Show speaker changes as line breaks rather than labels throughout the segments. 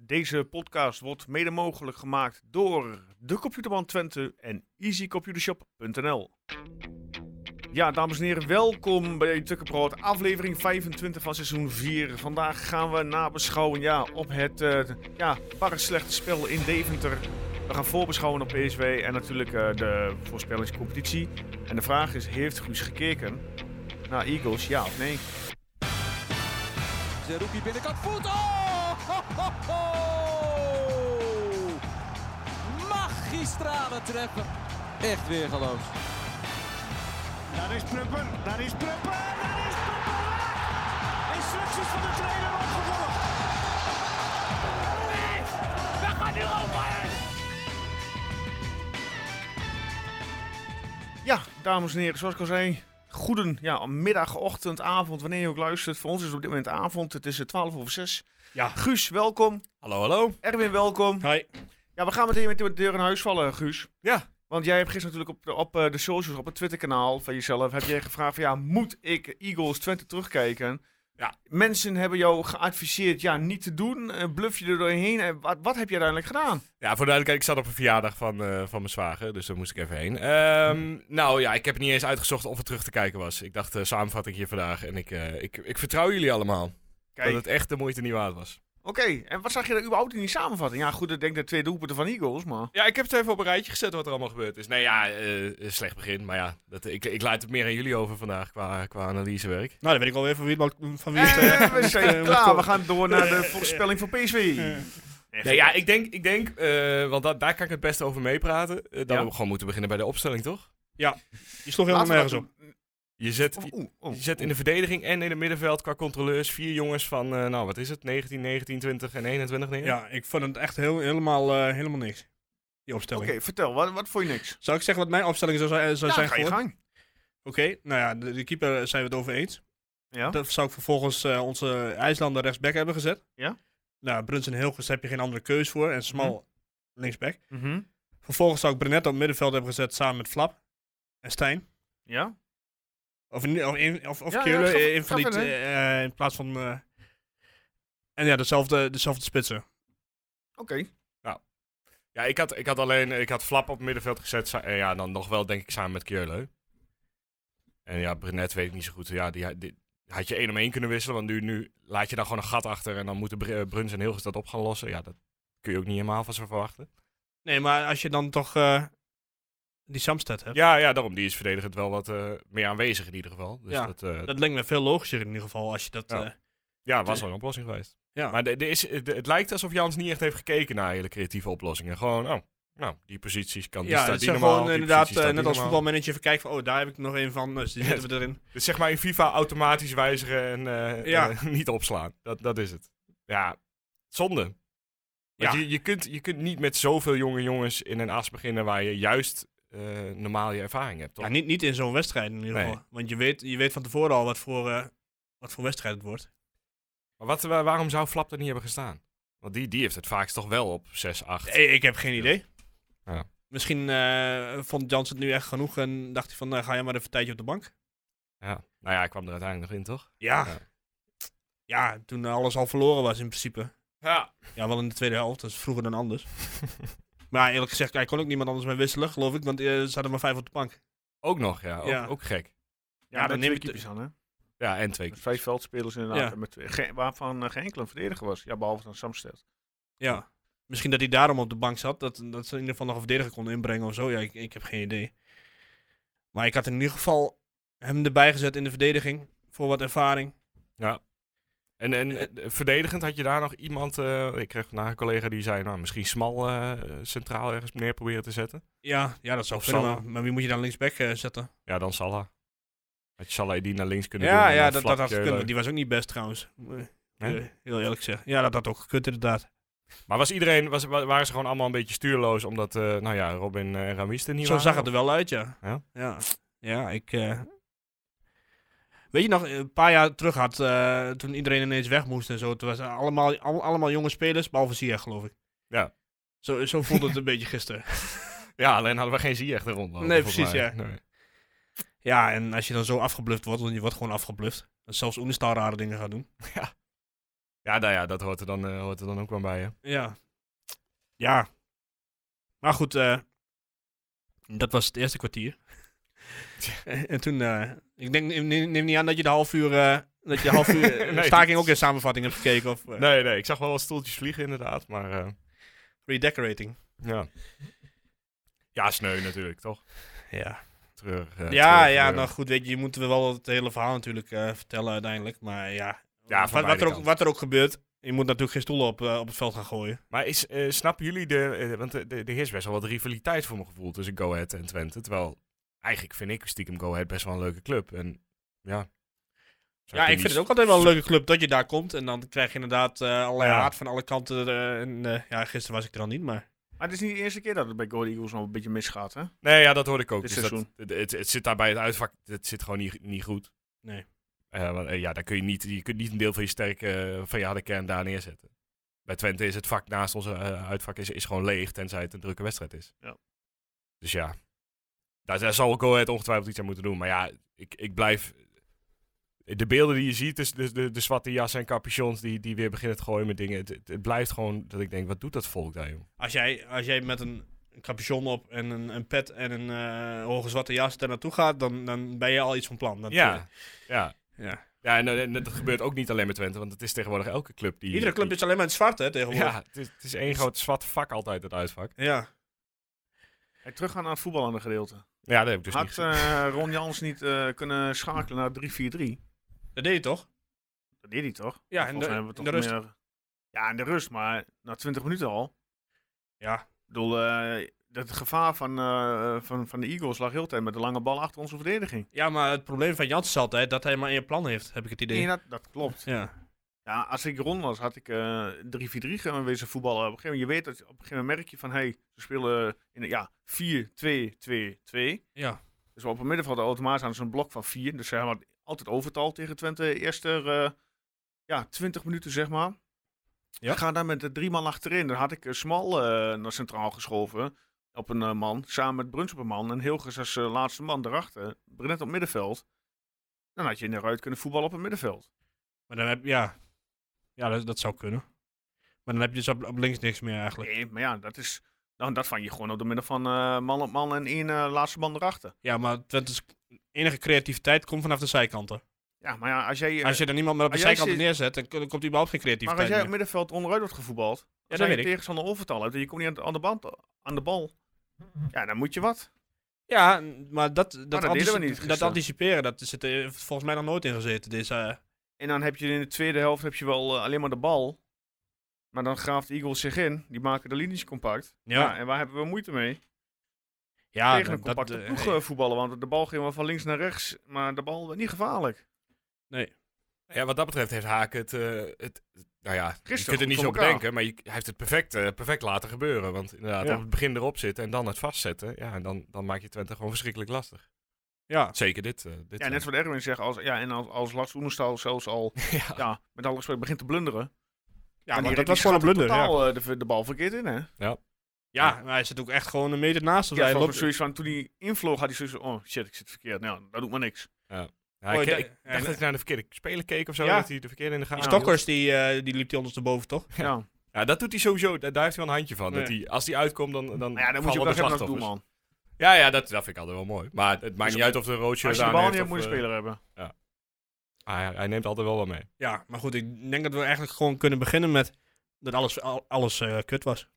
Deze podcast wordt mede mogelijk gemaakt door de Computerman Twente en easycomputershop.nl. Ja, dames en heren, welkom bij Tukkenbrood, aflevering 25 van seizoen 4. Vandaag gaan we nabeschouwen ja, op het eh ja, barre slechte spel in Deventer. We gaan voorbeschouwen op PSW en natuurlijk eh, de voorspellingscompetitie. En de vraag is, heeft Guus gekeken naar Eagles, ja of nee?
Zerouki binnenkant voet. Oh! Ho, ho, ho! Magistrale treffer. Echt weer geloof.
Daar is Prupper, daar is Prupper, daar is Prupper! Instructies van de trainer opgevolgd.
Ja, dames en heren, zoals ik al zei. Goeden ja, middag, ochtend, avond, wanneer je ook luistert. Voor ons is het op dit moment avond. Het is eh, 12 over 6.
Ja.
Guus, welkom.
Hallo, hallo.
Erwin, welkom.
Hi.
Ja, we gaan meteen met de deur in huis vallen, Guus.
Ja.
Want jij hebt gisteren natuurlijk op, de- op eh, de socials, op het Twitterkanaal van jezelf, heb jij gevraagd van ja, moet ik Eagles Twente terugkijken?
Ja.
Mensen hebben jou geadviseerd, ja, niet te doen. Eh, Bluff je er doorheen. En wat, wat heb je uiteindelijk gedaan?
Ja, voor de duidelijkheid, ik zat op een verjaardag van, eh, van mijn zwager, dus daar moest ik even heen. Ehm, nou ja, ik heb niet eens uitgezocht of het terug te kijken was. Ik dacht, eh, samenvatting hier vandaag en ik, eh, ik, ik vertrouw jullie allemaal.
Kijk,
Dat
oké.
het echt de moeite niet waard was.
En wat zag je er überhaupt in die samenvatting? Ja, goed, ik denk de twee doelpunten van Eagles, maar...
Ja, ik heb het even op een rijtje gezet wat er allemaal gebeurd is. Nee ja, eh, slecht begin, maar ja, dat, ik, ik laat het meer aan jullie over vandaag qua, qua analysewerk.
Nou, dan weet ik alweer van wie, het mag- van wie het... eh,
En we zijn
eh,
klaar, we
wordt-
gaan door naar de voorspelling van PSV. Echt.
Nee ja, ik denk, ik denk eh, want da- daar kan ik het beste over meepraten, eh, dat
Ja.
we gewoon moeten beginnen bij de opstelling, toch?
Je sloeg helemaal
Laten we Oh,
nergens
dat
op.
doen.
Je zet,
Oeh,
Oh,
oeh,
Je zet in
oeh.
de verdediging en in het middenveld qua controleurs vier jongens van, eh, nou wat is het, 19, 19, 20 en 21 neer?
Ja, ik vond het echt heel, helemaal, eh, helemaal niks. Die opstelling.
Oké, vertel, wat, wat vond je niks?
Zou ik zeggen wat mijn opstelling zou, zijn- zou
Ja,
zijn
ga je
geworden?
gang.
Oké, nou ja, de, de keeper zijn we het over eens.
Ja?
Dan zou ik vervolgens eh, onze IJslander rechtsback hebben gezet.
Ja.
Nou, Brunsen en Hilgers heb je geen andere keus voor. En Smal linksback.
Mhm.
Vervolgens zou ik Brenet op middenveld hebben gezet samen met Flap en Stijn.
Ja?
Of, in- of, in- of, of
Ja, ja,
Keulen,
ga-
eh, een van
ga
die
verder.
t- eh, in plaats van... eh, en ja, dezelfde, dezelfde spitsen.
Oké.
Ja, ik had, ik had alleen, ik had Flap op het middenveld gezet sa- en ja, dan nog wel denk ik samen met Kjörleu. En ja, Brenet weet ik niet zo goed. Ja, die, die- had je één om één kunnen wisselen, want nu, nu laat je dan gewoon een gat achter en dan moeten Br eh, Bruns en Hilgers dat op gaan lossen. Ja, dat kun je ook niet helemaal van ze verwachten.
Nee, maar als je dan toch eh, die Samsted hebt,
Ja, ja, daarom, die is verdedigend wel wat eh, meer aanwezig in ieder geval. Dus
Ja,
dat, eh,
dat lijkt me veel logischer in ieder geval als je dat...
Ja.
eh,
Ja, was wel een oplossing geweest.
Ja.
Maar de, de is, de- het lijkt alsof Jans niet echt heeft gekeken naar hele creatieve oplossingen. Gewoon, oh, nou, die posities kan die
ja,
staat
het
die
zijn
normaal,
gewoon
die
inderdaad,
positie
eh,
staat
net
die
als
normaal.
voetbalmanager, even kijken van, oh, daar heb ik nog een van, dus die
Ja.
zetten we erin.
Dus zeg maar in FIFA automatisch wijzigen en eh,
Ja.
eh, niet opslaan. Dat, dat is het. Ja, zonde.
Ja.
Want Je, je, kunt, je kunt niet met zoveel jonge jongens in een as beginnen waar je juist eh, normaal je ervaring hebt. Toch?
Ja, niet, niet in zo'n wedstrijd in ieder
Nee.
geval. Want je weet, je weet van tevoren al wat voor, eh, wat voor wedstrijd het wordt.
Maar wat, wa- waarom zou Flap er niet hebben gestaan? Want die, die heeft het vaakst toch wel op 6, 8.
Nee, Eh, ik heb geen idee.
Ja.
Misschien eh, vond Jans het nu echt genoeg en dacht hij van, nou, ga jij maar even een tijdje op de bank.
Ja. Nou ja, hij kwam er uiteindelijk nog in, toch?
Ja.
Ja.
ja. toen eh, alles al verloren was in principe.
Ja.
Ja, wel in de tweede helft, dat is vroeger dan anders. Maar eerlijk gezegd, hij kon ook niemand anders mee wisselen, geloof ik, want eh, er zaten maar vijf op de bank.
Ook nog, ja. Ook,
Ja.
ook gek.
Ja,
Ja,
dan
dan
neem
neem
ik
ik de-
keepers aan, hè?
Ja, en twee.
Met vijf veldspelers inderdaad,
Ja.
en met, ge- waarvan eh, geen enkele een verdediger was. Ja, behalve dan Samsted.
Ja. Misschien dat hij daarom op de bank zat, dat, dat ze in ieder geval nog een verdediger konden inbrengen of zo. Ja, ik, ik heb geen idee. Maar ik had in ieder geval hem erbij gezet in de verdediging, voor wat ervaring.
En, en eh, verdedigend had je daar nog iemand. eh, ik kreeg vandaag een collega die zei: nou, misschien smal eh, centraal ergens neer proberen te zetten.
Ja, ja dat zou
Of
kunnen,
Salah.
maar, maar wie moet je dan linksback eh, zetten?
Ja, dan Salah. Had je Salah die naar links kunnen doen?
Ja,
en
ja
dan
dat,
Flap
dat had
Keulen.
gekund, want die was ook niet best trouwens.
Hè?
Eh, Heel eerlijk gezegd. Ja, dat had ook gekund inderdaad.
Maar was iedereen, was, wa- waren ze gewoon allemaal een beetje stuurloos omdat, eh, nou ja, Robin eh, en Ramis er niet
Zo
waren?
zag het er wel uit, ja.
Ja?
Ja, Ja, ik... eh, Weet je nog, eh, een paar jaar terug had, eh, toen iedereen ineens weg moest en zo. Toen was allemaal, al- allemaal jonge spelers, behalve Ziyech geloof ik.
Ja.
Zo, zo voelde het een beetje gisteren.
Ja, alleen hadden we geen zie echt eronder.
Nee,
volgens
precies,
mij.
ja.
Nee.
Ja, en als je dan zo afgebluft wordt, want je wordt gewoon afgebluft. Dat zelfs Oenestal rare dingen gaat doen.
Ja, nou ja, dat hoort er dan, eh, hoort er dan ook wel bij, hè.
Ja. Ja. Maar goed, eh, dat was het eerste kwartier. en toen, eh, ik denk, neem, neem niet aan dat je de half uur, eh, dat je half uur eh,
Nee.
staking ook in samenvatting hebt gekeken of eh,
Nee, nee, ik zag wel wat stoeltjes vliegen inderdaad, maar eh,
redecorating.
ja. Ja, sneu natuurlijk, toch?
Ja,
Treurig. eh,
ja,
treurig
ja
gebeuren.
nou goed, weet je, je moet wel het hele verhaal natuurlijk eh, vertellen uiteindelijk. Maar ja,
Ja, van
wat, wat,
beide
er ook,
kanten.
wat er ook gebeurt, je moet natuurlijk geen stoelen op, eh, op het veld gaan gooien.
Maar is, eh, snappen jullie de... eh, want eh, de- er is best wel wat rivaliteit voor mijn gevoel tussen Go Ahead en Twente. Terwijl, eigenlijk vind ik stiekem Go Ahead best wel een leuke club. En ja... zou
Ja,
er
ik
niet-
vind het ook altijd wel een leuke club dat je daar komt. En dan krijg je inderdaad eh allerlei
Ja.
haat van alle kanten. eh, en, eh, ja, gisteren was ik er al niet, maar...
Maar het is niet de eerste keer dat het bij Go Ahead Eagles nog een beetje misgaat, hè?
Nee, ja, dat hoorde ik ook.
Dit
Dus dat,
seizoen.
het, het- het zit daar bij het uitvak, het zit gewoon niet, niet goed.
Nee.
Eh, want, eh, ja, daar kun je, niet, je kunt niet een deel van je sterke, eh, van je harde kern daar neerzetten. Bij Twente is het vak naast onze eh, uitvak is, is gewoon leeg, tenzij het een drukke wedstrijd is.
Ja.
Dus ja, daar, daar zal Go Ahead ongetwijfeld iets aan moeten doen. Maar ja, ik, ik blijf... De beelden die je ziet, dus de, de, de zwarte jassen en capuchons die, die weer beginnen te gooien met dingen. Het, het, het blijft gewoon dat ik denk, wat doet dat volk daar, joh?
Als jij, als jij met een, een capuchon op en een, een pet en een eh, hoge zwarte jas daar naartoe gaat, dan, dan ben je al iets van plan. Dat, eh,
Ja, ja.
ja.
Ja, en, eh, en dat gebeurt ook niet alleen met Twente, want het is tegenwoordig elke club die...
Iedere club
die-
is alleen maar in het zwart, hè, tegenwoordig.
Ja, het is, het is één groot zwart vak altijd, het uitvak.
Ja.
Hey, teruggaan naar het voetballende gedeelte.
Ja, dat heb ik dus niet
Had
gezien.
eh, Ron Jans niet eh, kunnen schakelen naar 3-4-3?
Dat deed je toch?
Dat deed hij toch?
Ja,
Volgens
en de,
mij hebben we
in de
toch
rust.
meer- Ja, in de rust, maar na 20 minuten al.
Ja.
Ik bedoel, eh, dat gevaar van, eh, van, van de Eagles lag heel de tijd met de lange bal achter onze verdediging.
ja, maar het probleem van Jans is altijd dat hij maar één plan heeft, heb ik het idee.
Nee, dat, dat klopt.
Ja.
Ja, als ik rond was, had ik eh 3-4-3 gaan wezen voetballen. Op een gegeven moment, je weet dat, op een gegeven moment merk je van, hé, hey, ze spelen in, de- ja, 4-2-2-2.
Ja.
Dus op het middenveld automatisch aan zo'n blok van 4. Dus ze hadden altijd overtal tegen Twente. Eerst er, eh, ja, 20 minuten, zeg maar.
Ja.
Ja. Ga daar met de drie man achterin. Dan had ik eh, Smal eh, naar centraal geschoven. Op een eh, man. Samen met Bruns op een man. En Hilgers als eh, laatste man erachter. Brenet op middenveld. Dan had je in de ruit kunnen voetballen op het middenveld.
Maar dan heb ja. Ja, dat, dat zou kunnen. Maar dan heb je dus op, op links niks meer eigenlijk.
Nee, maar ja, dat is. Nou, dat vang je gewoon op de middel van eh, man op man en één eh, laatste man erachter.
Ja, maar Twente's enige creativiteit komt vanaf de zijkanten.
Ja, maar ja, als jij. eh,
Als je er niemand meer op de
als jij
zijkanten
zit-
neerzet, dan, dan komt überhaupt geen
maar
creativiteit
als jij op
meer.
middenveld onderuit wordt gevoetbald.
Ja,
Dan
dat
ben
weet
je
ik.
tegenstander overtal hebt en je komt niet aan de, aan de band, aan de bal. Ja, dan moet je wat.
Ja, n- maar dat, dat,
dat deden we niet
antici- dat
gisteren.
anticiperen, dat zit er volgens mij nog nooit in gezeten. Deze, eh,
En dan heb je in de tweede helft heb je wel eh, alleen maar de bal. Maar dan graaft de Eagles zich in. Die maken de linies compact. Ja.
ja,
en waar hebben we moeite mee?
ja,
Tegen een
dat-
compacte
eh,
ploeg eh, voetballen. Want de bal ging wel van links naar rechts. Maar de bal werd niet gevaarlijk.
Ja, wat dat betreft heeft Haak het... eh, het nou ja, je kunt
goed
het niet
voor
zo
elkaar.
bedenken, maar je, hij heeft het perfect, eh, perfect laten gebeuren. Want inderdaad,
Ja.
op het begin erop zitten en dan het vastzetten. Ja, en dan, dan maak je Twente gewoon verschrikkelijk lastig.
ja.
Zeker dit. eh, dit
Ja, net wat Erwin zegt. Als, ja, en als, als Lars Oenestal zelfs al
ja.
ja, met alle gesprek begint te blunderen.
ja,
En
maar
die-
dat
die
was gewoon een
schatte
blunder. Ja.
Totaal, eh, de, de bal verkeerd in, hè?
ja, maar hij zit ook echt gewoon een meter naast. of
Ja,
hij
volgens
loopt,
mij zoiets van toen hij invloog had hij zoiets van, oh shit, ik zit verkeerd. Nou, dat doet maar niks.
Ja, ik,
Oh,
ik
eh,
da-
dacht dat ik naar de verkeerde speler keek of zo,
Ja.
dat hij de verkeerde in de
die
Ah,
gaten had.
Stokkers, die, eh, die liep die ondersteboven, toch?
Ja.
Ja, dat doet hij sowieso. Daar, daar heeft hij wel een handje van. Dat
Ja.
hij, als hij uitkomt, dan, dan,
Maar ja, dan moet je
vallen
ook
de dus
wel hebben als
slachtoffers.
doelman.
Ja, ja dat, dat vind ik altijd wel mooi. Maar het, het maakt
Dus
niet uit of de roodje
Als je de
aan
bal niet
heeft
hebt, moet je
of,
een speler hebben.
eh, hij, hij neemt altijd wel wat mee.
Ja, maar goed, ik denk dat we eigenlijk gewoon kunnen beginnen met dat alles, al- alles eh, kut was.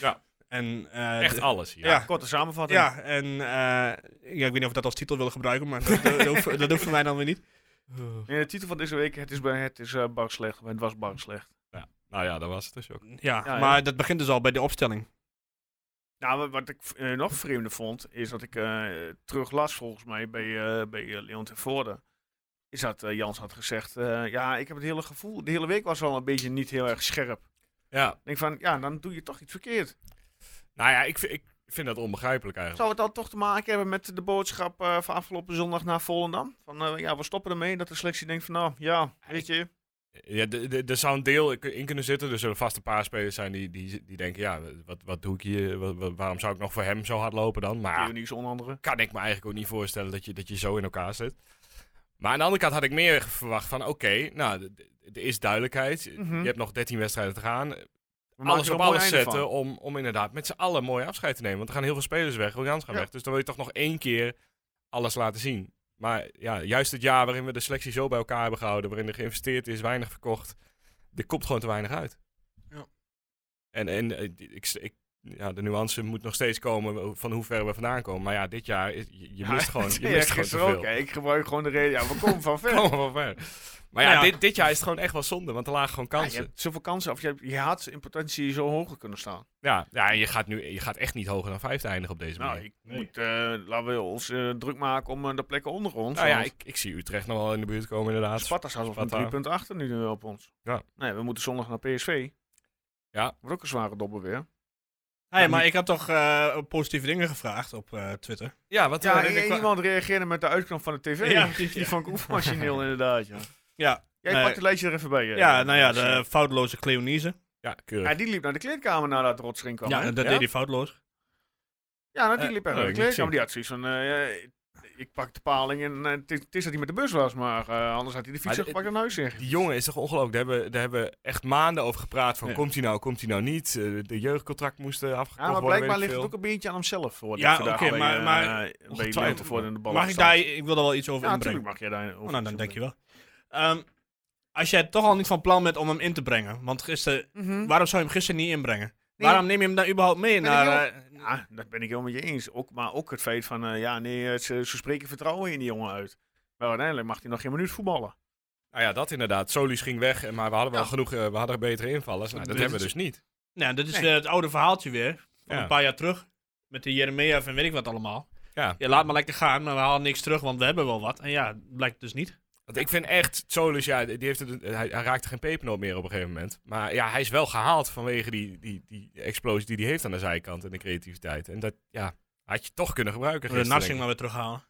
Ja.
En, eh,
Echt
de-
alles. Ja.
ja,
Korte samenvatting.
ja, en eh, ja, ik weet niet of we dat als titel willen gebruiken, maar dat, dat, hoeft, dat hoeft voor mij dan weer niet.
In de titel van deze week, het is, bij- het is eh, bar slecht, maar het was bar slecht.
Nou ja, dat was het dus ook.
Ja,
Ja, ja.
maar dat begint dus al bij de opstelling.
Nou, wat, wat ik eh, nog vreemder vond, is dat ik eh, terug las volgens mij bij, eh, bij eh, Leon Tevoorde. Is dat eh, Jans had gezegd, eh, ja, ik heb het hele gevoel, de hele week was al een beetje niet heel erg scherp. Ik
Ja.
denk van, ja, dan doe je toch iets verkeerd.
Nou ja, ik, vind- ik vind dat onbegrijpelijk
Zou
eigenlijk.
het dan toch te maken hebben met de boodschap eh, van afgelopen zondag naar Volendam? Van eh, ja, we stoppen ermee. Dat de selectie denkt van nou ja, weet je.
Ja, de- de- er zou een deel in kunnen zitten. Er zullen vast een paar spelers zijn die, die, die denken, ja, wat, wat doe ik hier? Wat- wat- waarom zou ik nog voor hem zo hard lopen dan? Maar ja,
Leonie onder andere.
kan ik me eigenlijk ook niet voorstellen dat je, dat je zo in elkaar zit. Maar aan de andere kant had ik meer verwacht van, oké, nou, d- d- er is duidelijkheid.
Mhm.
Je hebt nog 13 wedstrijden te gaan.
We maken
alles
er
op
een mooi
alles
einde van.
zetten om, om inderdaad met z'n allen mooi afscheid te nemen. Want er gaan heel veel spelers weg, Williams gaan
Ja.
weg. Dus dan wil je toch nog één keer alles laten zien. Maar ja, juist het jaar waarin we de selectie zo bij elkaar hebben gehouden, waarin er geïnvesteerd is, weinig verkocht, er komt gewoon te weinig uit.
Ja.
En, en eh, ik, ik, ja, de nuance moet nog steeds komen van hoe ver we vandaan komen. Maar ja, dit jaar, is, je, je
Ja,
mist gewoon, je
Ja,
mist gewoon te
gisteren ook.
veel.
hè. Ik gebruik gewoon de reden. Ja, we komen van ver.
Kom maar ver. Maar ja,
Nou ja.
Dit, dit jaar is het gewoon echt wel zonde, want er lagen gewoon
Ja, je
kansen.
hebt zoveel kansen. Of je, hebt- je had in potentie zo hoger kunnen staan.
Ja, ja, en je gaat, nu, je gaat echt niet hoger dan vijfde eindigen op deze manier.
Nou, ik moet, eh, laten we ons eh, druk maken om eh, de plekken onder ons.
Nou ja,
want
ik, ik zie Utrecht nog wel in de buurt komen inderdaad.
Sparta staat op een
Sparta.
drie punten achter nu op ons.
Ja.
Nee, we moeten zondag naar PSV.
Ja.
Wordt ook een zware dobbel weer.
Hey, maar ik had toch eh, positieve dingen gevraagd op eh, Twitter.
ja, want
Ja,
eh,
en- en iemand reageerde met de uitknop van de tv.
Ja,
die
precies, ja.
vond ik oefenmachineel inderdaad, ja.
Ja,
Jij
Nee.
pakt het lijstje er even bij. eh,
ja nou ja,
Marcel.
de foutloze Cleonise.
ja, keurig.
Ja, die liep naar de kleedkamer nadat dat rots erin kwam.
Ja,
hè?
dat deed hij foutloos.
Ja, nou, die
Eh,
liep echt
oh,
naar de
ik niet
kleedkamer. Die had zoiets van, eh, eh, ik pak de paling en eh, het is- het is dat hij met de bus was, maar eh, anders had hij de fiets
Maar de-
gepakt en naar huis in.
Die jongen is toch ongelooflijk. Daar hebben, daar hebben echt maanden over gepraat van
Ja.
komt hij nou, komt hij nou niet. Eh, de jeugdcontract moest eh, afgekocht
Ja, maar
worden,
blijkbaar ligt
weet
het
ik
ook een beetje aan hemzelf. Voor
Ja, oké, maar- maar
eh, ongetwijfeld voor in de bal
Mag ik daar, ik wil daar wel iets over
Ja,
inbrengen.
natuurlijk mag jij daar.
Oh, nou, dan denk je wel. Ehm, als jij toch al niet van plan bent om hem in te brengen, want gisteren,
Mhm. Hm?
waarom zou je hem gisteren niet inbrengen? Waarom neem je hem dan überhaupt mee
Ben
naar...
ik
eh,
Ja, dat ben ik helemaal met je eens. Ook, maar ook het feit van, eh, ja, nee, eh, ze, ze spreken vertrouwen in die jongen uit. Maar uiteindelijk mag hij nog geen minuut voetballen.
veel. Nou ja, dat inderdaad. Solis ging weg, en- maar we hadden wel
Ja.
genoeg, eh, we hadden betere invallers. Nou, dat
Dus-
hebben we dus niet.
nou, dit is
Nee.
eh, het oude verhaaltje weer, van
Ja.
een paar jaar terug. Met de Jeremia en weet ik wat allemaal.
Ja.
Je laat maar lekker gaan, maar we halen niks terug, want we hebben wel wat. En ja, het blijkt dus niet.
Want ik vind echt, Solis, ja, die heeft het, hij, hij raakte geen pepernoot meer op een gegeven moment. Maar ja, hij is wel gehaald vanwege die, die, die explosie die hij heeft aan de zijkant en de creativiteit. En dat, ja, had je toch kunnen gebruiken
We de
gisteren. denk ik.
Narsing maar weer terughalen.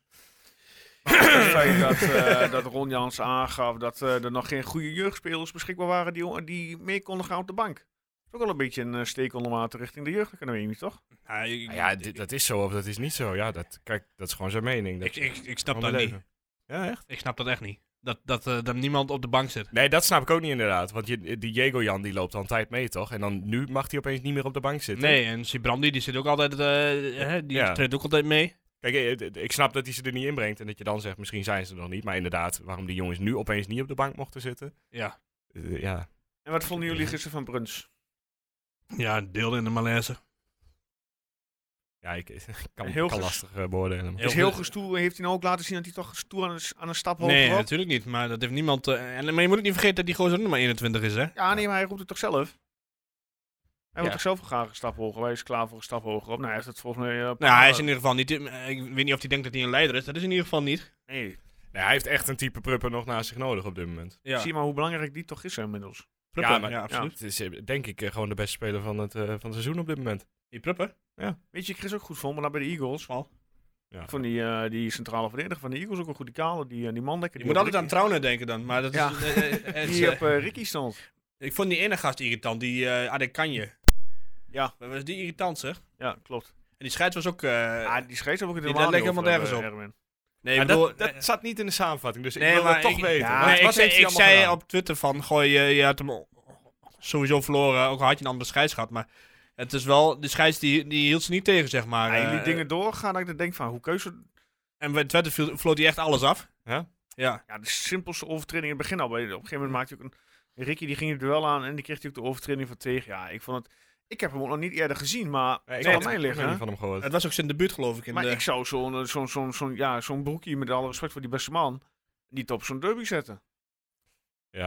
Het feit dat, eh, dat Ron Jans aangaf dat eh, er nog geen goede jeugdspelers beschikbaar waren die, die mee konden gaan op de bank. Dat is ook wel een beetje een eh, steek onder water richting de jeugdacademie, toch?
Ja, ik,
Nou ja, dit- dat is zo of dat is niet zo. Ja, dat, kijk, dat is gewoon zijn mening. Dat
ik, ik, ik snap
gewoon
dat
mijn
niet.
leven. Ja, echt?
Ik snap dat echt niet. Dat, dat eh, er niemand op de bank zit.
Nee, dat snap ik ook niet inderdaad. Want je, die Diego Jan die loopt al een tijd mee, toch? En dan nu mag hij opeens niet meer op de bank zitten.
Nee, en Sibrandi die zit ook altijd, eh, hè, die
Ja.
treedt ook altijd mee.
Kijk, eh, eh, ik snap dat hij ze er niet inbrengt en dat je dan zegt, misschien zijn ze er nog niet. Maar inderdaad, waarom die jongens nu opeens niet op de bank mochten zitten.
Ja,
Eh, ja.
En wat vonden jullie gisteren van Bruns?
ja een deel in de malaise.
ja, ik ik kan,
Heel
kan
ges-
lastig eh, beoordelen.
Heel
Is heel
goed.
gestoer, heeft hij nou ook laten zien dat hij toch stoer aan een, s- aan een stap hoger
Nee,
was?
natuurlijk niet. Maar dat heeft niemand. eh, en, maar je moet ook niet vergeten dat die gozer ook nog maar 21 is, hè?
Ja, nee, maar hij roept het toch zelf? Hij
Ja.
wil toch zelf graag een stap hoger? Hij is klaar voor een stap hoger. Op. Nou, hij heeft het volgens mij... eh,
Nou, hij is in ieder geval niet. eh, Ik weet niet of hij denkt dat hij een leider is. Dat is in ieder geval niet.
Nee,
Nee, hij heeft echt een type prupper nog naast zich nodig op dit moment.
Ja,
zie maar hoe belangrijk die toch is inmiddels.
Pruppen, ja,
maar-
absoluut.
Het is eh, denk ik eh, gewoon de beste speler van het, eh, van het seizoen op dit moment.
Die Pruppen?
Weet je, Chris ook goed vond, maar dan bij de Eagles...
Wel.
Ja.
Ik vond die, eh, die centrale verdediger van de Eagles ook een goede kale. Die, eh, die man lekker.
Je
die
moet
op
altijd aan
Ricky-
Trouwner denken dan. Maar dat is.
Ja.
eh, eh, eh, het is,
Die
eh,
op eh, Ricky stond.
ik vond die ene gast irritant. Die uh, Adekanje.
Ja.
Dat was die irritant, zeg.
Ja, klopt.
En die scheids was ook. eh,
ah, die scheids heb ik het
die
helemaal
daar
niet
lijkt
over,
helemaal
eh,
nergens
Erwin.
Nee,
Ja,
ik bedoel,
dat, dat zat niet in de samenvatting, dus
Nee,
ik wil
maar
het toch
ik-
weten.
ja,
Wat
nee, ik
heeft
zei,
hij
ik
allemaal
zei
gedaan?
op Twitter van, gooi, je, je had hem sowieso verloren, ook al had je een andere scheids gehad. Maar het is wel, de scheids die, die hield ze niet tegen, zeg maar.
Hij liet
Eh,
Ah, dingen doorgaan dat ik dan denk van, hoe keuze...
En bij Twente viel- floot hij echt alles af.
Ja?
Ja.
Ja, de simpelste overtreding in het begin al. Bij- Op een gegeven moment maakte hij ook een... Ricky die ging het duel aan en die kreeg hij ook de overtreding van tegen. Ja, ik vond het... Ik heb hem ook nog niet eerder gezien, maar het
Nee, ik
zal
had
aan mij
ik heb
liggen.
nog
hè?
niet van hem gehoord.
Het was ook zijn debuut, geloof ik. In
Maar
de...
ik zou zo'n eh, zo'n zo'n zo'n ja, zo'n broekje, met alle respect voor die beste man, niet op zo'n derby zetten.
Ja.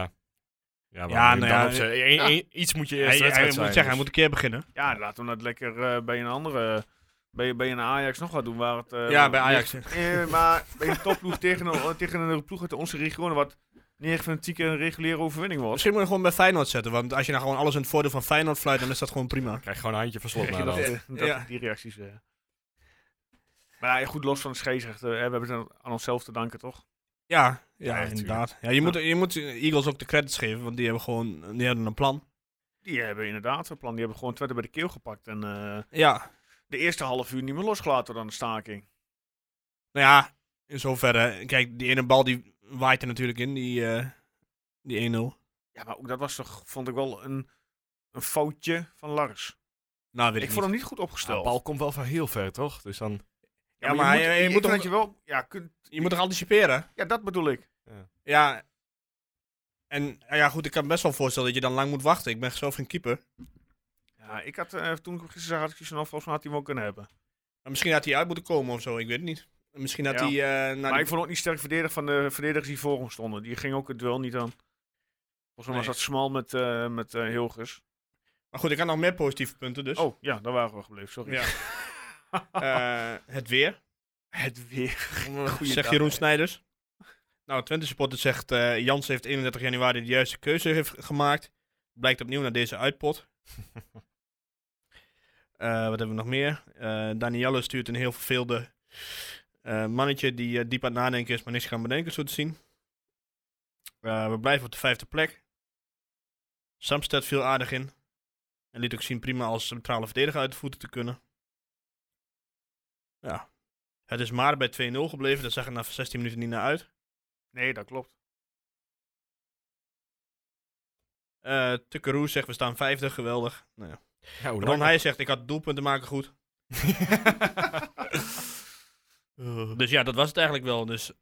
Ja,
Ja,
maar moet je
nou
hem
ja,
dan opzetten? Eén-
ja.
één- iets moet je
hij,
eerst
hij,
wedstrijd
moet
zijn,
zeggen,
dus-
hij moet een keer beginnen.
Ja, laten we dat lekker eh, bij een andere... Bij, bij een Ajax nog wat doen, waar het... eh,
ja, bij Ajax.
Eh, maar bij een topploeg tegen een, tegen een ploeg uit onze regio, wat 9 van de 10 keer een reguliere overwinning was.
Misschien moet je hem gewoon bij Feyenoord zetten. Want als je nou gewoon alles in het voordeel van Feyenoord fluit, dan is dat gewoon prima.
Krijg gewoon een handje van slot
Krijg je
naar
dat,
dan.
eh, dat-
Ja.
Die reacties. eh. Maar ja, goed, los van de scheidsrechter, eh, we hebben het aan- aan onszelf te danken, toch?
Ja, ja,
natuurlijk.
inderdaad. Ja, je, Moet, je moet Eagles ook de credits geven, want die hebben gewoon die hebben een plan.
Die hebben inderdaad een plan. Die hebben gewoon Twente bij de keel gepakt en eh,
Ja,
de eerste half uur niet meer losgelaten dan de staking.
Nou ja, in zoverre. Kijk, die ene bal die waait er natuurlijk in, die, eh, die 1-0.
Ja, maar ook dat was toch, vond ik wel een, een foutje van Lars.
Nou, weet
Ik
ik,
vond
niet.
hem niet goed
De
opgesteld.
bal komt wel van heel ver, toch? Dus dan...
Ja, maar, je, moet, ik
je, moet
vind
toch,
dat je wel... Ja, kunt,
je moet toch anticiperen?
ja, dat bedoel ik.
Ja. En eh, ja, goed, ik kan me best wel voorstellen dat je dan lang moet wachten. Ik ben zelf geen keeper.
Ja, ik had, eh, toen ik hem gisteren zag, had ik zoiets van, nou, volgens mij had hij hem wel kunnen hebben.
Maar misschien had hij uit moeten komen of zo, ik weet het niet. Misschien had
Ja.
hij. eh, naar
maar
die-
ik vond ook niet sterk verdedigd van de verdedigers die voor hem stonden. Die ging ook het duel niet aan. Volgens mij was
Nee.
dat smal met, eh met eh, Hilgers.
Maar goed, ik had nog meer positieve punten dus.
Oh, ja, daar waren we gebleven, sorry.
Ja. Eh, het weer.
Het weer.
zegt Jeroen Snijders. Nou, Twente supporter zegt eh Jans heeft 31 januari de juiste keuze heeft gemaakt. Blijkt opnieuw naar deze uitpot. Eh, wat hebben we nog meer? Eh Danielle stuurt een heel verveelde eh, mannetje die eh, diep aan het nadenken is, maar niks kan bedenken, zo te zien. Eh, we blijven op de vijfde plek. Samsted viel aardig in. En liet ook zien prima als centrale verdediger uit de voeten te kunnen. Ja. Het is maar bij 2-0 gebleven. Dat zag er na 16 minuten niet naar uit.
Nee, dat klopt.
Eh Tukkeroe zegt we staan 50. Geweldig. Nou, ja.
Ja, hoe
Ron
lang-
Heij zegt ik had doelpunten maken goed. Dus ja, dat was het eigenlijk wel. Dus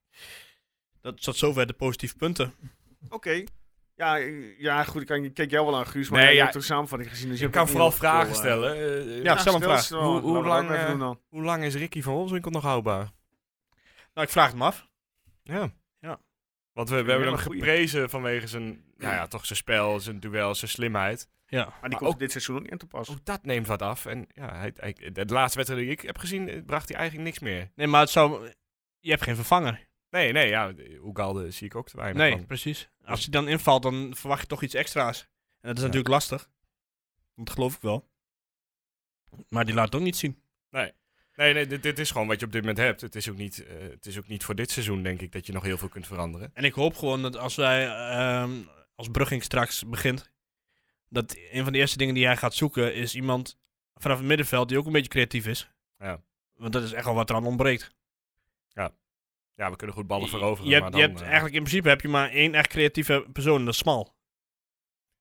dat zat zover de positieve punten.
Oké. Ja, eh, ja, goed, ik, kan- ik kijk jou wel aan, Guus, maar
Nee,
jij
ja,
hebt er samen van gezien. Dus je hebt
Ik kan
ook niet
vooral
heel veel,
vragen
eh,
stellen. Eh,
Ja,
eh,
stel een vraag.
eens,
Hoe-
eh, laten
hoe
we dat
lang,
ook even
eh,
doen dan.
Hoe lang is Ricky van Wolfswinkel nog houdbaar?
Nou, ik vraag het me af.
Ja.
Ja.
Want we, we
een
hebben hem
hele goeie.
geprezen vanwege zijn, ja, ja, toch zijn spel, zijn duel, zijn slimheid.
Ja.
Maar die
Maar
komt
ook-
dit seizoen ook niet aan te pas.
Oh.
Ook dat neemt wat af. En ja, hij, hij- de laatste wedstrijd die ik heb gezien, eh, bracht hij eigenlijk niks meer.
Nee, maar het zou... Je hebt geen vervanger.
Nee, nee, ja, Oegalde zie ik ook te weinig
Nee,
van.
precies. Als hij dan invalt, dan verwacht je toch iets extra's. En dat is
Ja.
natuurlijk lastig. Dat geloof ik wel. Maar die laat het ook niet zien.
Nee, nee dit, dit is gewoon wat je op dit moment hebt. Het is, ook niet, eh, het is ook niet voor dit seizoen, denk ik, dat je nog heel veel kunt veranderen.
En ik hoop gewoon dat als wij, ehm, als Brugging straks begint, dat een van de eerste dingen die hij gaat zoeken is iemand vanaf het middenveld die ook een beetje creatief is.
Ja.
Want dat is echt wel wat er aan ontbreekt.
Ja, we kunnen goed ballen
Je-
veroveren.
Je, hebt,
maar
je
dan,
hebt
eh,
eigenlijk in principe heb je maar één echt creatieve persoon, en dat is Smal.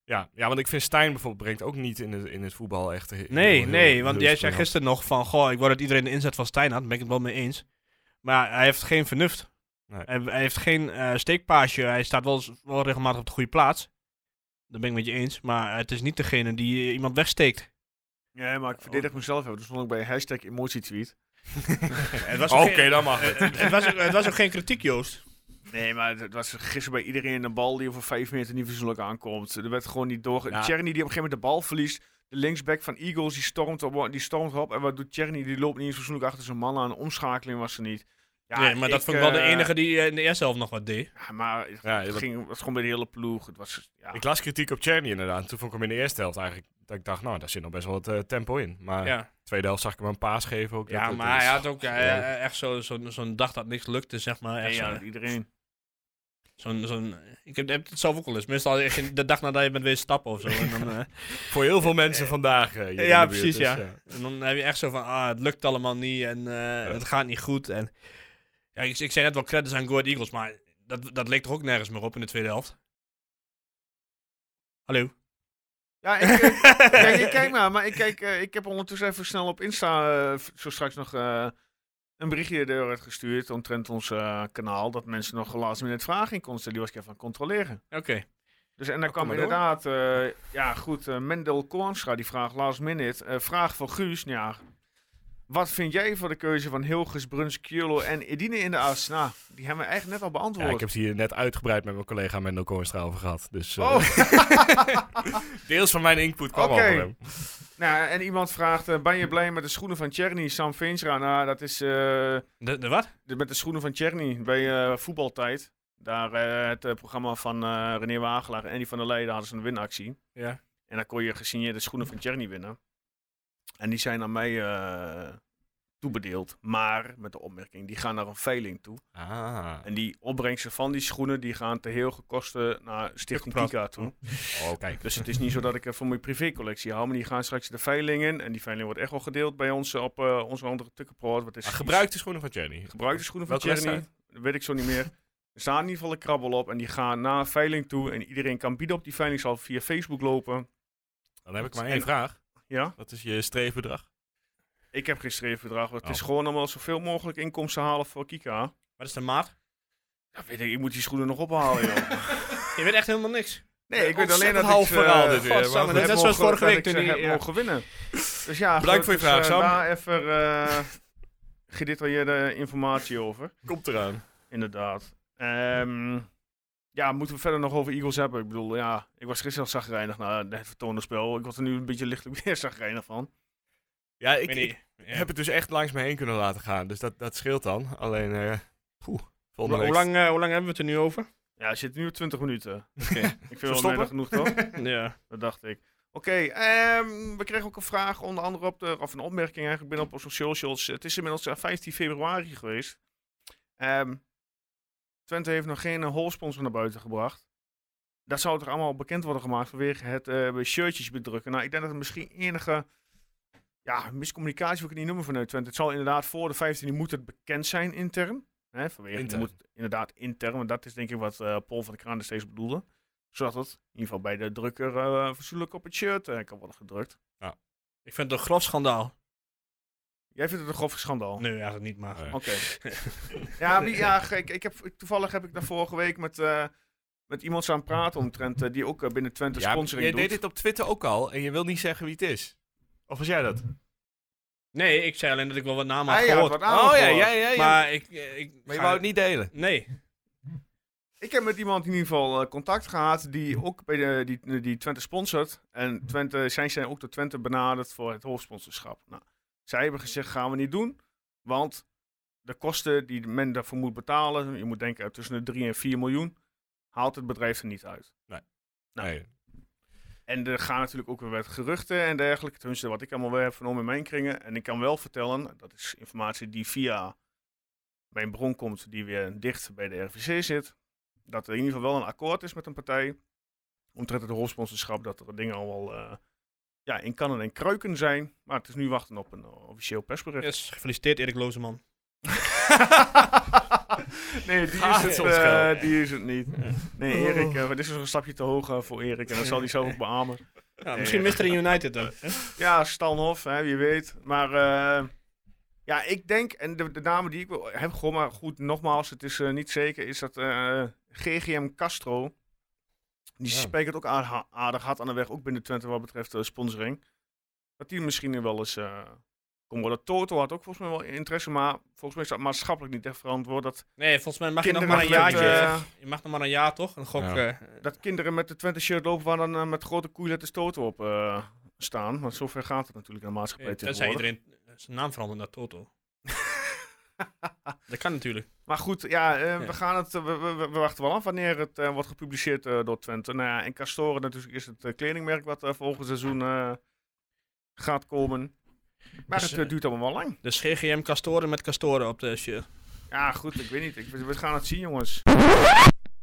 ja, ja, want ik vind Stijn bijvoorbeeld brengt ook niet in het, in het voetbal echt... heel-
Nee,
heel-
nee,
heel
want
veel
jij zei
spel.
gisteren nog van, goh, ik word dat iedereen de inzet van Stijn had, daar ben ik het wel mee eens. Maar hij heeft geen vernuft.
Nee.
Hij, hij heeft geen eh steekpaasje, hij staat wel, eens- wel regelmatig op de goede plaats. Dat ben ik met je eens, maar het is niet degene die eh, iemand wegsteekt.
Nee, maar
Oh.
ik verdedig mezelf even. Dus stond ik bij hashtag emotietweet.
Het was ook
Oh, Oké,
geen-
dan mag het.
het, was ook, het was ook geen kritiek, Joost.
Nee, maar het was gisteren bij iedereen een bal die over vijf meter niet verzoenlijk aankomt. Er werd gewoon niet door.
Ja.
Cherny die op een gegeven moment de bal verliest. De linksback van Eagles die stormt op. Die stormt op. En wat doet Cherny? Die loopt niet eens verzoenlijk achter zijn man aan. Omschakeling was er niet. Ja,
nee, maar dat
ik,
vond ik wel de
eh,
enige die eh, in de eerste helft nog wat deed.
Ja, maar het
Ja, dat-
ging, het was gewoon bij de hele ploeg. Het was, ja.
Ik las kritiek op Cherny inderdaad. Toen vond ik hem in de eerste helft eigenlijk... Dat ik dacht, nou, daar zit nog best wel wat eh, tempo in. Maar
Ja,
tweede helft zag ik hem een paas geven ook.
ja
Dat-
maar
dat is-
hij had ook eh,
Ja.
echt zo- zo'n zo'n dag dat niks lukte, zeg maar.
Nee,
Echt
ja,
zo'n-
iedereen.
zo'n, zo'n, ik heb, heb het zelf ook al eens. Meestal echt in- de dag nadat je bent weer stappen of zo. En dan, eh,
Voor heel veel mensen vandaag. eh, hier in de
ja,
buurt,
precies,
dus,
ja. En dan heb je echt zo van, ah, het lukt allemaal niet en eh, het gaat niet goed. En, ja, ik, ik zei net wel credits aan Goat Eagles, maar dat, dat leek toch ook nergens meer op in de tweede helft. Hallo?
Ja, ik, eh, kijk, ik kijk maar, maar ik, kijk, eh, ik heb ondertussen even snel op Insta eh, v- zo straks nog eh, een berichtje eruit gestuurd omtrent ons eh, kanaal. Dat mensen nog laatst minuut vragen in konden stellen. Die was ik even aan het controleren.
Oké.
Dus, en daar
Oh, kom
kwam
maar door.
inderdaad, eh, ja goed, eh, Mendel Kornstra die vraagt last minute. eh, vraag voor Guus, nou ja. Wat vind jij van de keuze van Hilgers, Bruns, Kjolo en Edine in de as? Nou, die hebben we eigenlijk net al
Ja, ik
beantwoord.
heb het hier net uitgebreid met mijn collega Mendel Koornstra over gehad. Dus eh,
Oh,
deels van mijn input kwam
Oké.
al van hem.
nou, en iemand vraagt, eh, ben je blij met de schoenen van Cherny, Sam Veenstra? Nou, dat is... eh,
De, de wat?
De- met de schoenen van Cherny bij eh, voetbaltijd. Daar eh, het eh, programma van eh, René Wagelaar en die van der Leijden hadden ze een winactie.
Ja.
En dan kon je gesigneerde schoenen van Cherny winnen. En die zijn aan mij eh, toebedeeld. Maar met de opmerking, die gaan naar een veiling toe.
Ah,
En die opbrengsten van die schoenen, die gaan te heel gekosten naar Stichting
Prachtig.
Kika toe.
oh, kijk.
Dus het is niet zo dat ik er voor mijn privécollectie hou. Maar die gaan straks de veiling in. En die veiling wordt echt wel gedeeld bij ons eh, op eh, onze andere tukkenproot. Wat is
Ah, gebruik de schoenen van Jenny.
Gebruik de schoenen van
Welke
Cherny.
wedstrijd?
Dat weet ik zo niet meer. Er staat in ieder geval een krabbel op en die gaan naar een veiling toe. En iedereen kan bieden op die veiling. Zal via Facebook lopen.
Dan heb ik maar
En-
één vraag.
Ja,
Wat is je streefbedrag?
ik heb geen streefbedrag. Het
Oh.
is gewoon allemaal zoveel mogelijk inkomsten halen voor Kika.
Wat is de maat?
Ja, weet ik, ik moet die schoenen nog ophalen, joh.
Je weet echt helemaal niks.
Nee, ik weet alleen
ontzettend
dat ik
half
ze,
verhaal
eh,
dit weer, maar
godsamme,
goed.
heb
Net zoals
mogen- dat
vorige
ik
week
ze
toen die-
heb
ja.
mogen winnen. Dus ja,
Bedankt voor je
gelukkig,
vraag,
eh,
Sam.
Daar even eh, gedetailleerde informatie over,
Komt eraan.
inderdaad. Ehm, ja, moeten we verder nog over Eagles hebben? Ik bedoel, ja, ik was gisteren al zagrijnig na het vertoonde spel. Ik word er nu een beetje lichtelijk weer zagrijnig van.
Ja, ik,
weet
ik
niet. Ja.
heb het dus echt langs me heen kunnen laten gaan. Dus dat, dat scheelt dan. Alleen, eh poeh,
Hoe,
volgende
hoe
week.
lang, eh, hoe lang hebben we het er nu over?
Ja, het zit nu op 20 minuten.
Oké.
Ik
Zullen
vind
we
het wel
stoppen?
weinig genoeg, toch?
ja.
Dat dacht ik. Oké, ehm, we kregen ook een vraag, onder andere op de, of een opmerking eigenlijk binnen op onze socials. Het is inmiddels eh, 15 februari geweest. Ehm, Twente heeft nog geen eh, holsponsor naar buiten gebracht. Dat zou toch allemaal bekend worden gemaakt vanwege het eh shirtjes bedrukken. Nou, ik denk dat het misschien enige ja, miscommunicatie wil ik het niet noemen vanuit Twente. Het zal inderdaad voor de 15e moet het bekend zijn intern. Hè, vanwege je
Intern.
Moet, het inderdaad intern, want dat is denk ik wat eh, Paul van de Kraan steeds bedoelde. Zodat het in ieder geval bij de drukker eh fatsoenlijk op het shirt eh, kan worden gedrukt.
Ik vind het een grof schandaal.
Jij vindt het een grof schandaal?
Nee, eigenlijk niet, maar...
Eh,
Oké. ja, wie, ja ge- ik, ik heb, toevallig heb ik daar vorige week met, eh, met iemand aan het praten omtrent, eh, die ook eh, binnen Twente
ja,
sponsoring
jij
doet.
deed dit op Twitter ook al en je wil niet zeggen wie het is. Of was jij dat?
Nee, ik zei alleen dat ik wel wat namen had
Hij had
gehoord.
wat
oh ja,
aangehoord.
ja, ja, ja. Maar,
Maar ik... eh, ik
je
ga-
wou het niet delen.
Nee.
Ik heb met iemand in ieder geval eh, contact gehad die ook bij de, die, die Twente sponsort. En Twente, zij zijn ook door Twente benaderd voor het hoofdsponsorschap. Nou, zij hebben gezegd, gaan we niet doen. Want de kosten die men daarvoor moet betalen, je moet denken tussen de 3 en 4 miljoen, haalt het bedrijf er niet uit. Nou.
Nee.
En er gaan natuurlijk ook weer wat geruchten en dergelijke. Tenminste, wat ik allemaal weer heb vernomen in mijn kringen. En ik kan wel vertellen, dat is informatie die via mijn bron komt, die weer dicht bij de RVC zit. Dat er in ieder geval wel een akkoord is met een partij. Omtrent het hoofdsponsorschap, dat er dingen al wel eh, ja, in kannen en kruiken zijn. Maar het is nu wachten op een eh, officieel persbericht.
Yes, gefeliciteerd Erik Lozeman.
nee, die is,
Gaat
het,
het ons
eh,
geld?
die is het niet. Nee, Erik, eh, dit is nog een stapje te hoog eh, voor Erik. En dat zal hij zelf ook beamen.
Ja, misschien Mr. United dan.
Ja, Stanhof, hè, wie weet. Maar eh, ja, ik denk, en de, de namen die ik wil, heb gewoon maar goed, nogmaals, het is eh, niet zeker, is dat eh, GGM Castro, die
Ja.
spijkert ook aardig, aardig hard aan de weg, ook binnen Twente wat betreft eh, sponsoring. Dat die misschien wel eens eh kon worden. Toto had ook volgens mij wel interesse, maar volgens mij is dat maatschappelijk niet echt verantwoord. Dat,
Nee, volgens mij mag je nog
Kinderen
maar een
met, eh,
jaartje. Je mag nog maar een jaar, toch? Een gok.
Ja.
eh,
dat kinderen met de Twente shirt lopen waar dan eh, met grote koeiletters Toto op eh, staan. Want zover gaat het natuurlijk in de
eh,
maatschappij
tenzij
tegenwoordig.
iedereen zijn naam verandert naar Toto. dat kan natuurlijk.
Maar goed, ja, eh,
Ja.
We, gaan het, eh, we, we, we wachten wel af wanneer het eh, wordt gepubliceerd eh, door Twente. Nou ja, en Castore natuurlijk is het eh, kledingmerk wat eh, volgend seizoen eh, gaat komen. Maar
Dus,
het eh, duurt allemaal wel lang.
Dus GGM Castoren met Castoren op de shirt.
Ja, goed, ik weet niet. Ik, we we gaan het zien, jongens.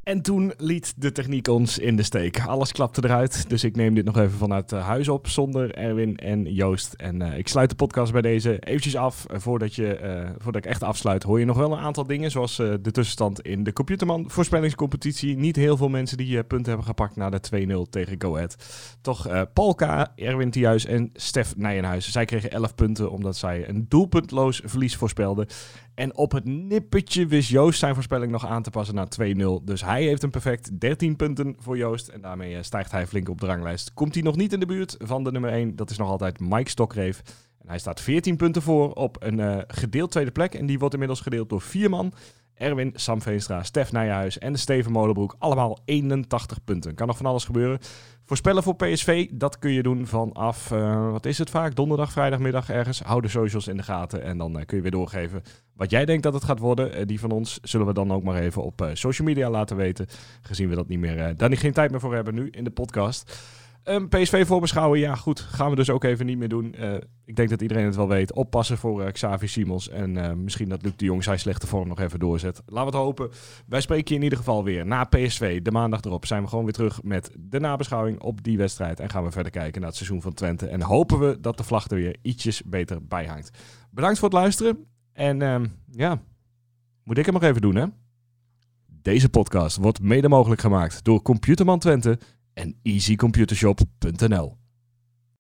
En toen liet de techniek ons in de steek. Alles klapte eruit, dus ik neem dit nog even vanuit eh, huis op zonder Erwin en Joost. En eh, ik sluit de podcast bij deze eventjes af. Eh, voordat, je, eh, voordat ik echt afsluit hoor je nog wel een aantal dingen, zoals eh, de tussenstand in de Computerman voorspellingscompetitie. Niet heel veel mensen die eh, punten hebben gepakt na de 2-0 tegen Go Ahead. Toch eh, Paul K., Erwin Thijuis en Stef Nijenhuis. Zij kregen 11 punten omdat zij een doelpuntloos verlies voorspelden. En op het nippertje wist Joost zijn voorspelling nog aan te passen naar 2-0. Dus hij heeft een perfect 13 punten voor Joost. En daarmee eh, stijgt hij flink op de ranglijst. Komt hij nog niet in de buurt van de nummer 1? Dat is nog altijd Mike Stokreef. En hij staat 14 punten voor op een eh, gedeeld tweede plek. En die wordt inmiddels gedeeld door vier man. Erwin, Sam Veenstra, Stef Nijhuis en Steven Molenbroek. Allemaal 81 punten. Kan nog van alles gebeuren. Voorspellen voor PSV, dat kun je doen vanaf, eh, wat is het vaak? Donderdag, vrijdagmiddag ergens. Hou de socials in de gaten en dan eh, kun je weer doorgeven wat jij denkt dat het gaat worden, eh, die van ons zullen we dan ook maar even op eh, social media laten weten. Gezien we dat niet meer, eh, daar niet geen tijd meer voor hebben nu in de podcast. Ehm, PSV voorbeschouwen, ja goed, gaan we dus ook even niet meer doen. Eh, ik denk dat iedereen het wel weet. Oppassen voor eh, Xavi Simons en eh, misschien dat Luc de Jong zijn slechte vorm nog even doorzet. Laten we het hopen. Wij spreken je in ieder geval weer na PSV. De maandag erop zijn we gewoon weer terug met de nabeschouwing op die wedstrijd. En gaan we verder kijken naar het seizoen van Twente. En hopen we dat de vlag er weer ietsjes beter bij hangt. Bedankt voor het luisteren. En ehm, ja, moet ik hem nog even doen, hè? Deze podcast wordt mede mogelijk gemaakt door Computerman Twente en easycomputershop.nl.